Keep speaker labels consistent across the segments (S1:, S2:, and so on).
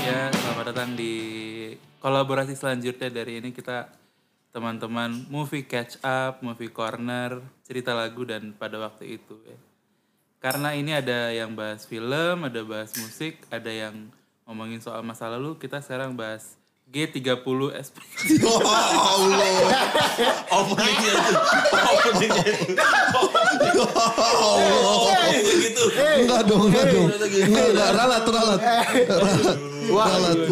S1: Iya, kolaborasi selanjutnya dari ini kita teman-teman movie catch up, movie corner, cerita lagu dan pada waktu itu ya. Karena ini ada yang bahas film, ada bahas musik, ada yang ngomongin soal masa lalu, kita sekarang bahas G30 SP.
S2: Oh, Allah. Openingnya itu. Openingnya itu. Oh, Allah.
S3: gitu.
S2: Enggak dong, enggak dong. Enggak, enggak. Ralat, ralat.
S4: Wah,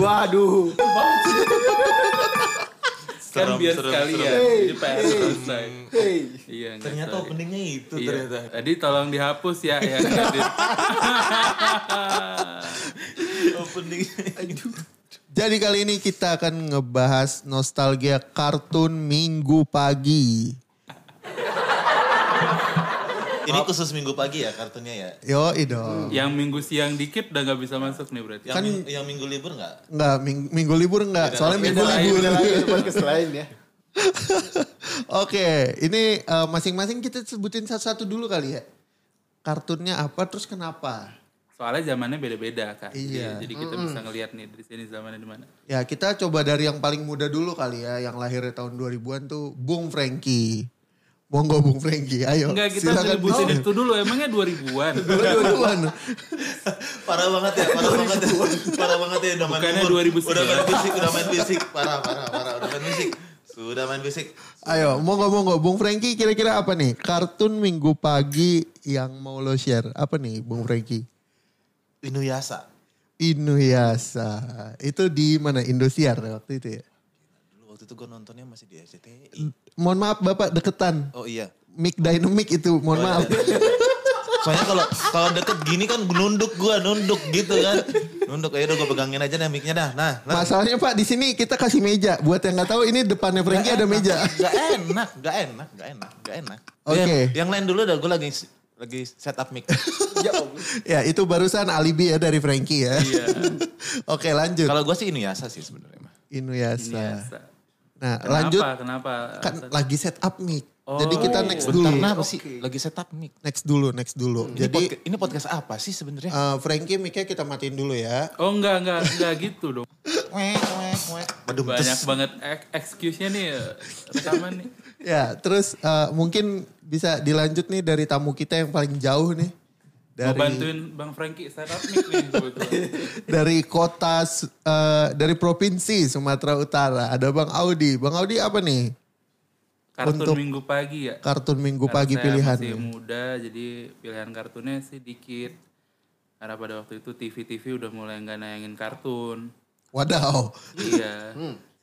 S4: waduh.
S1: kan
S3: Serem,
S1: biar
S3: serem,
S1: sekalian.
S3: serem.
S1: Jadi PR selesai.
S4: Hey.
S1: Iya, nggak
S3: Ternyata
S1: tahu.
S3: openingnya itu
S1: Iya.
S3: ternyata.
S1: Tadi tolong dihapus ya yang edit.
S3: Openingnya.
S2: Jadi kali ini kita akan ngebahas nostalgia kartun minggu pagi.
S3: Ini khusus minggu pagi ya kartunya ya.
S2: Yo, dong.
S1: yang minggu siang dikit udah nggak bisa masuk nih berarti.
S3: Yang,
S2: Kan-
S3: ming- yang minggu libur nggak?
S2: Enggak, ming- minggu libur enggak. Soalnya minggu
S4: Beda lain,
S2: libur.
S4: beda lain, podcast lain ya.
S2: Oke, ini eh, masing-masing kita sebutin satu-satu dulu kali ya. Kartunnya apa, terus kenapa?
S1: Soalnya zamannya beda-beda kan.
S2: Iya.
S1: Jadi, jadi kita bisa ngelihat nih dari sini zamannya di mana.
S2: Ya kita coba dari yang paling muda dulu kali ya. Yang lahirnya tahun 2000-an tuh Bung Franky. Monggo Bung Franky, ayo.
S1: Enggak kita ngeributin
S2: Oh.
S1: itu dulu emangnya 2000-an.
S2: Dua-duaan.
S3: Parah banget ya, parah banget ya. Parah banget ya udah main
S1: Bukannya
S3: libur.
S1: 2009.
S3: Udah main fisik, udah main fisik. Parah, parah, parah. Udah main fisik. Sudah main fisik.
S2: Ayo, monggo monggo Bung Franky kira-kira apa nih? Kartun Minggu pagi yang mau lo share. Apa nih Bung Franky?
S3: Inuyasha.
S2: Inuyasha. Itu di mana? Indosiar ya waktu itu ya.
S3: Dulu waktu itu gue nontonnya masih di SCTI.
S2: Mohon maaf Bapak deketan.
S3: Oh iya.
S2: Mic dynamic itu, mohon maaf.
S3: Soalnya kalau kalau deket gini kan nunduk gua, nunduk gitu kan. Nunduk ayo udah gue pegangin aja nih mic-nya dah. Nah, nah.
S2: Masalahnya Pak di sini kita kasih meja. Buat yang nggak tahu ini depannya Franky ada meja.
S3: Gak enak, gak enak, gak enak, gak enak.
S2: Oke.
S3: Yang- Yang lain dulu dah gue lagi lagi setup mic.
S4: Ya Allah.
S2: ya itu barusan alibi ya dari Franky ya. Oke lanjut.
S3: Kalau gue sih Inuyasha sih sebenarnya mah.
S2: Inuyasha.
S1: Biasa.
S2: Nah
S1: Kenapa?
S2: lanjut
S1: Kenapa?
S2: kan lagi set up mic.
S1: Oh.
S2: Jadi kita next
S3: Bentar nah,
S2: dulu.
S3: kenapa sih? Lagi setup mic.
S2: Next dulu, next dulu.
S1: Hmm.
S3: Ini,
S2: Jadi
S3: podca- ini podcast apa sih sebenarnya?
S2: eh, Franky mic-nya kita matiin dulu ya.
S1: Oh enggak, enggak, enggak gitu dong.
S3: Wek, wek, wek. Aduh,
S1: Banyak
S3: tes.
S1: banget ek- excuse-nya nih eh, rekaman nih.
S2: Ya terus eh, mungkin bisa dilanjut nih dari tamu kita yang paling jauh nih.
S1: Mau
S2: Dari
S1: bantuin Bang Franky setup mic nih gitu. kebetulan.
S2: dari kota Su- eh, dari provinsi Sumatera Utara ada Bang Audi. Bang Audi apa nih?
S1: Kartun
S2: Untuk-
S1: Minggu pagi ya.
S2: Kartun Minggu
S1: Karena
S2: pagi
S1: saya
S2: pilihannya.
S1: masih muda jadi pilihan kartunnya sih dikit karena pada waktu itu TV TV udah mulai nggak nayangin kartun
S2: Wadaw.
S1: iya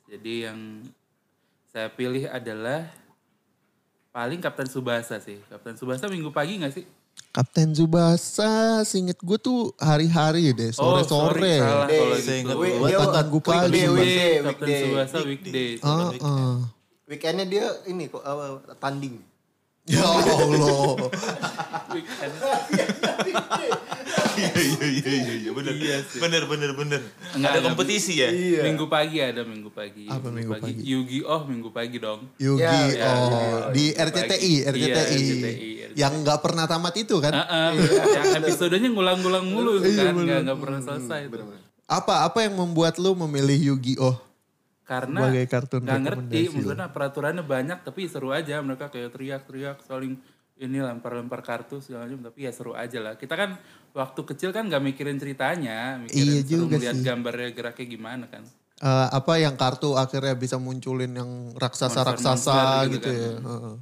S1: jadi yang saya pilih adalah paling Kapten Subasa sih Kapten Subasa minggu pagi nggak sih
S2: Kapten Tsubasa singet gue tuh hari-hari deh
S1: Oh, sorry,
S2: sore-sore.
S1: salah kalau
S3: Saya
S1: gitu
S3: ingat
S4: Wih,
S3: gua
S4: dia
S2: Buat tangguh pagi.
S4: weekday, weekday,
S1: Kapten
S4: weekday.
S1: Subasa weekday
S2: Ah, ah.
S4: Weekendnya dia ini kok eh, tanding.
S2: Ya Allah.
S1: Weekend.
S3: Iya, iya, iya, iya, iya, bener.
S1: Iya sih.
S3: Bener, bener, bener.
S1: Enggak,
S3: Ada
S1: enggak.
S3: kompetisi ya?
S1: minggu pagi ada minggu pagi
S2: Apa minggu pagi?
S1: Yu-Gi-Oh minggu pagi dong
S2: Yugi
S4: Ya, ya,
S2: oh di RCTI,
S1: Pagi. Iya,
S2: RCTI.
S1: RCTI.
S2: Yang nggak pernah tamat itu kan?
S1: Ah, ah, yang episodenya ngulang-ngulang mulu kan nggak nggak pernah selesai tuh.
S2: Apa apa yang membuat lu memilih Yugi oh?
S1: karena
S2: Sebagai kartun
S1: nggak ngerti
S2: rekomendasi
S1: maksudnya peraturannya banyak tapi seru aja mereka kayak teriak-teriak saling ini lempar-lempar kartu segala macam tapi ya seru aja lah kita kan waktu kecil kan nggak mikirin ceritanya mikirin
S2: Iya
S1: seru
S2: juga
S1: melihat gambarnya geraknya gimana kan
S2: Eh, apa yang kartu akhirnya bisa munculin yang raksasa-raksasa
S1: Monster-monster gitu
S2: gitu,
S4: kan.
S2: ya. Heeh.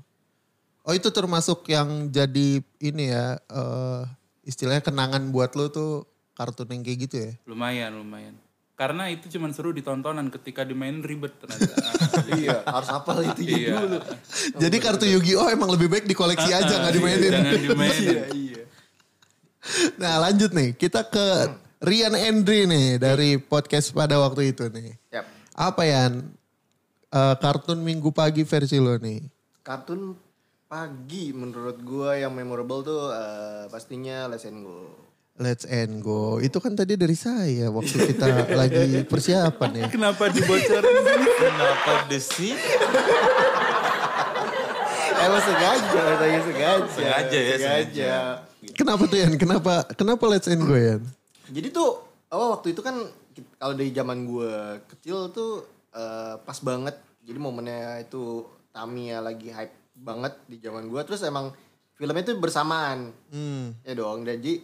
S2: Oh itu termasuk yang jadi ini ya eh, istilahnya kenangan buat lu tuh kartun yang kayak gitu ya?
S1: lumayan lumayan karena itu cuman seru di tontonan ketika dimainin ribet ternyata
S4: Iya, harus hafal itu
S1: Iya.
S4: dulu. Oh,
S2: Jadi kartu Yu-Gi-Oh emang lebih baik dikoleksi aja nggak dimainin.
S1: jangan dimainin
S4: Iya, iya.
S2: Nah lanjut nih kita ke
S4: Hmm.
S2: Rian Endri nih dari
S4: Iya.
S2: podcast pada waktu itu nih.
S4: Yap.
S2: Apa ya kartun minggu pagi versi lo nih?
S4: Kartun pagi menurut gua yang memorable tuh eh, pastinya Let's and Go.
S2: Let's and go. Itu kan tadi dari saya waktu kita lagi persiapan ya.
S1: kenapa dibocorin
S3: Kenapa desi?
S4: Emang Eh, sengaja, katanya sengaja.
S3: Sengaja ya,
S4: sengaja.
S2: Kenapa tuh Yan? Kenapa kenapa let's and go Yan?
S4: Jadi tuh, awal waktu itu kan ki- kalau dari zaman gua kecil tuh eh, pas banget. Jadi momennya itu Tamiya lagi hype banget di zaman gua terus emang filmnya itu bersamaan.
S2: Hmm.
S4: Ya dong, dan jadi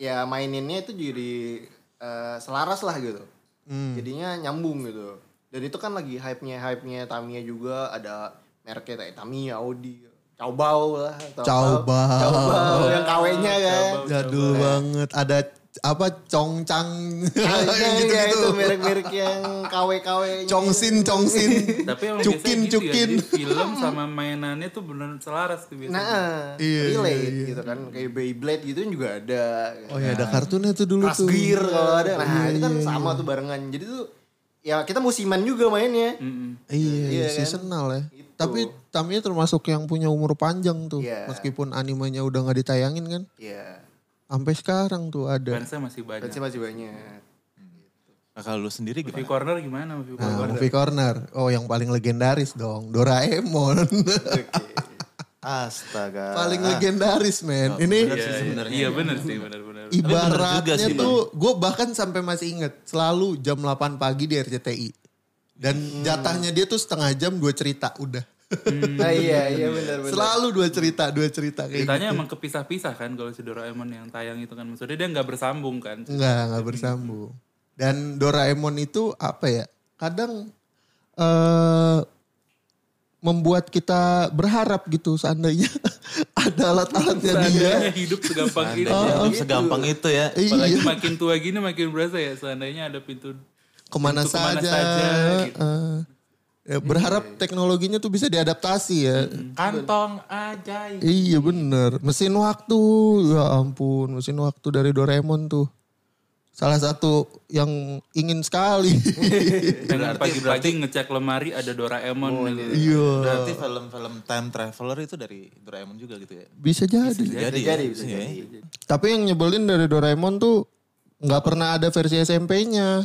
S4: ya maininnya itu jadi eh, selaras lah gitu. Jadinya nyambung gitu. Dan itu kan lagi hype-nya hype-nya Tamiya juga ada mereknya kayak Tamiya, Audi, Caobao lah. atau apa.
S2: Caobao.
S4: Caobao yang KW-nya kan.
S1: Caobao.
S2: Jadul banget. Ada c- apa congcang
S4: Iya,
S2: gitu
S4: iya,
S2: gitu.
S4: itu merek-merek yang KW-KW.
S2: Congsin, congsin.
S1: Tapi emang biasanya
S2: cukin,
S1: gitu ya,
S2: cukin.
S1: jadi film sama mainannya tuh beneran selaras tuh biasanya.
S4: Nah,
S2: Iya,
S4: relate
S2: iya, iya.
S4: gitu kan kayak Beyblade gitu juga ada.
S2: Oh ya ada kartunnya tuh dulu
S4: Crush
S2: tuh.
S4: Gear kalau ada. Nah,
S2: Iya,
S4: itu kan
S2: iya,
S4: sama tuh barengan. Jadi tuh ya kita musiman juga mainnya.
S1: Mm-mm.
S2: Iya,
S4: Iya kan?
S2: seasonal ya.
S4: Gitu.
S2: Tapi Tamiya termasuk yang punya umur panjang tuh.
S4: Iya.
S2: Meskipun animenya udah nggak ditayangin kan.
S4: Iya.
S2: Sampai sekarang tuh
S4: Nah.
S2: ada.
S1: Fansnya masih banyak.
S4: Fansnya masih banyak.
S3: Nah, kalau lu sendiri
S1: Movie
S3: gimana?
S1: Corner gimana Movie
S2: Nah,
S1: Corner?
S2: Movie Corner. Oh yang paling legendaris dong. Doraemon.
S4: Oke.
S3: Astaga.
S2: paling legendaris men. Ini
S3: bener sih sebenarnya.
S1: Iya bener sih bener-bener.
S2: gitu.
S3: Tapi bener juga
S2: Ibaratnya
S3: sih,
S2: tuh gue bahkan sampai masih inget selalu jam 8 pagi di RCTI. Dan jatahnya dia tuh setengah jam dua cerita udah.
S1: Mm.
S4: Nah, iya, iya benar benar.
S2: selalu dua cerita, dua cerita kayak gitu.
S1: Ceritanya emang kepisah-pisah kan kalau si Doraemon yang tayang itu kan. Maksudnya dia nggak bersambung kan.
S2: gitu. Enggak, enggak bersambung. Dan Doraemon itu apa ya? Kadang eh membuat kita berharap gitu seandainya ada alat-alatnya dia.
S1: Seandainya hidup segampang ini.
S3: Seandainya Iya, segampang itu ya.
S1: Apalagi
S2: Iya,
S1: makin tua gini makin berasa ya. Seandainya ada pintu
S2: kemana
S1: Untuk kemana
S2: saja.
S1: saja, gitu. Iya,
S2: eh. Ya, berharap teknologinya tuh bisa diadaptasi ya.
S1: kantong ajaib.
S2: Iya bener. Mesin waktu. Ya ampun. Mesin waktu dari Doraemon tuh. Salah satu yang ingin sekali.
S1: Dengan pagi-pagi ngecek lemari ada Doraemon. gitu.
S2: Iya.
S3: Berarti film-film time traveler itu dari Doraemon juga gitu ya.
S2: Bisa jadi.
S3: Jadi,
S4: Jadi
S3: ya?
S4: bisa
S3: Iya,
S4: jadi.
S3: ya.
S2: Tapi yang nyebelin dari Doraemon tuh nggak pernah ada versi SMP-nya.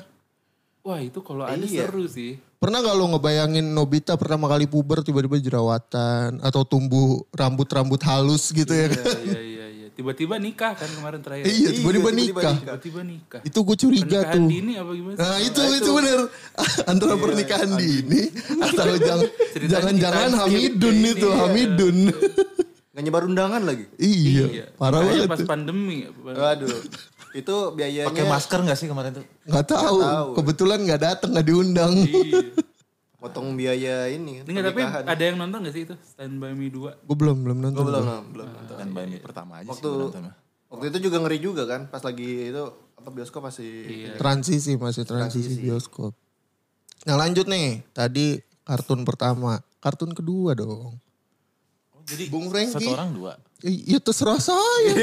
S1: Wah itu kalau ada seru sih.
S2: Pernah gak lo ngebayangin Nobita pertama kali puber tiba-tiba jerawatan atau tumbuh rambut-rambut halus gitu ya kan?
S1: Iya iya iya. Tiba-tiba nikah kan kemarin terakhir.
S2: Iya, tiba-tiba nikah.
S1: Tiba-tiba nikah.
S2: Itu gue curiga
S1: Pernikahan
S2: tuh.
S1: dini apa gimana?
S2: Nah itu itu bener antara pernikahan dini atau jangan jangan-jangan Hamidun itu Hamidun.
S4: Nggak nyebar undangan lagi.
S2: iya, parah
S1: Makanya pas
S2: banget.
S1: pandemi.
S4: Waduh. itu biayanya
S3: Pakai masker gak sih kemarin tuh?
S2: Nggak tahu. Kebetulan nggak datang nggak diundang.
S1: Iya.
S4: potong biaya ini.
S1: Ini nggak, tapi ada yang nonton gak sih itu Stand By Me 2?
S2: Gue belum belum nonton.
S4: Gue belum belum.
S3: Dan Mbak Mi Kan pertama aja sih
S4: iya. Waktu
S3: gua nonton.
S4: waktu itu juga ngeri juga kan pas lagi itu apa bioskop
S1: Iya.
S4: masih
S2: Transisi masih transisi, bioskop. Nah lanjut nih tadi kartun pertama, kartun kedua dong.
S3: Oh, Jadi
S2: Bung Rengki.
S3: satu orang dua.
S4: Iya.
S2: I- Ya terserah saya.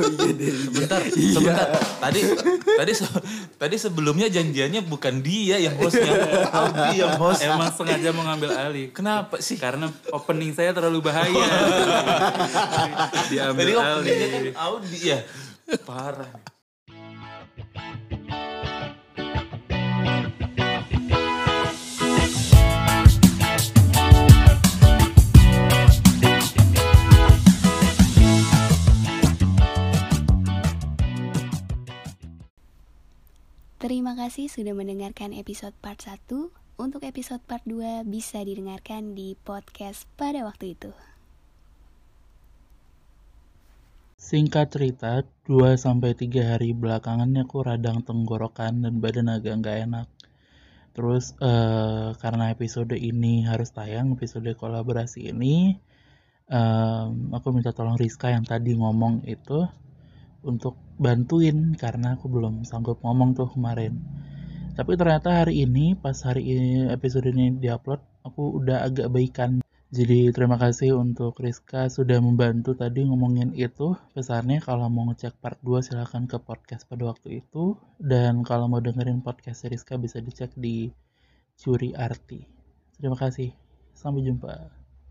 S3: Sebentar,
S4: Iya.
S3: sebentar. Tadi tadi se- tadi sebelumnya janjiannya bukan dia yang hostnya, Aldi yang host.
S1: Emang sengaja mau ngambil alih. Kenapa sih? Karena opening saya terlalu bahaya.
S3: Tadi
S1: Diambil alih.
S3: openingnya kan Audi ya.
S4: iya.
S3: Parah.
S5: Terima kasih sudah mendengarkan episode part 1. Untuk episode part 2 bisa didengarkan di podcast pada waktu itu.
S6: Singkat cerita, 2-3 hari belakangan ini aku radang tenggorokan dan badan agak nggak enak. Terus eh, karena episode ini harus tayang, episode kolaborasi ini, em, aku minta tolong Rizka yang tadi ngomong itu untuk bantuin karena aku belum sanggup ngomong tuh kemarin. Tapi ternyata hari ini, pas hari ini episode ini diupload, aku udah agak baikan jadi terima kasih untuk Rizka sudah membantu tadi ngomongin itu. Pesannya kalau mau ngecek part 2 silahkan ke podcast pada waktu itu. Dan kalau mau dengerin podcast Rizka bisa dicek di Curi Arti. Terima kasih. Sampai jumpa.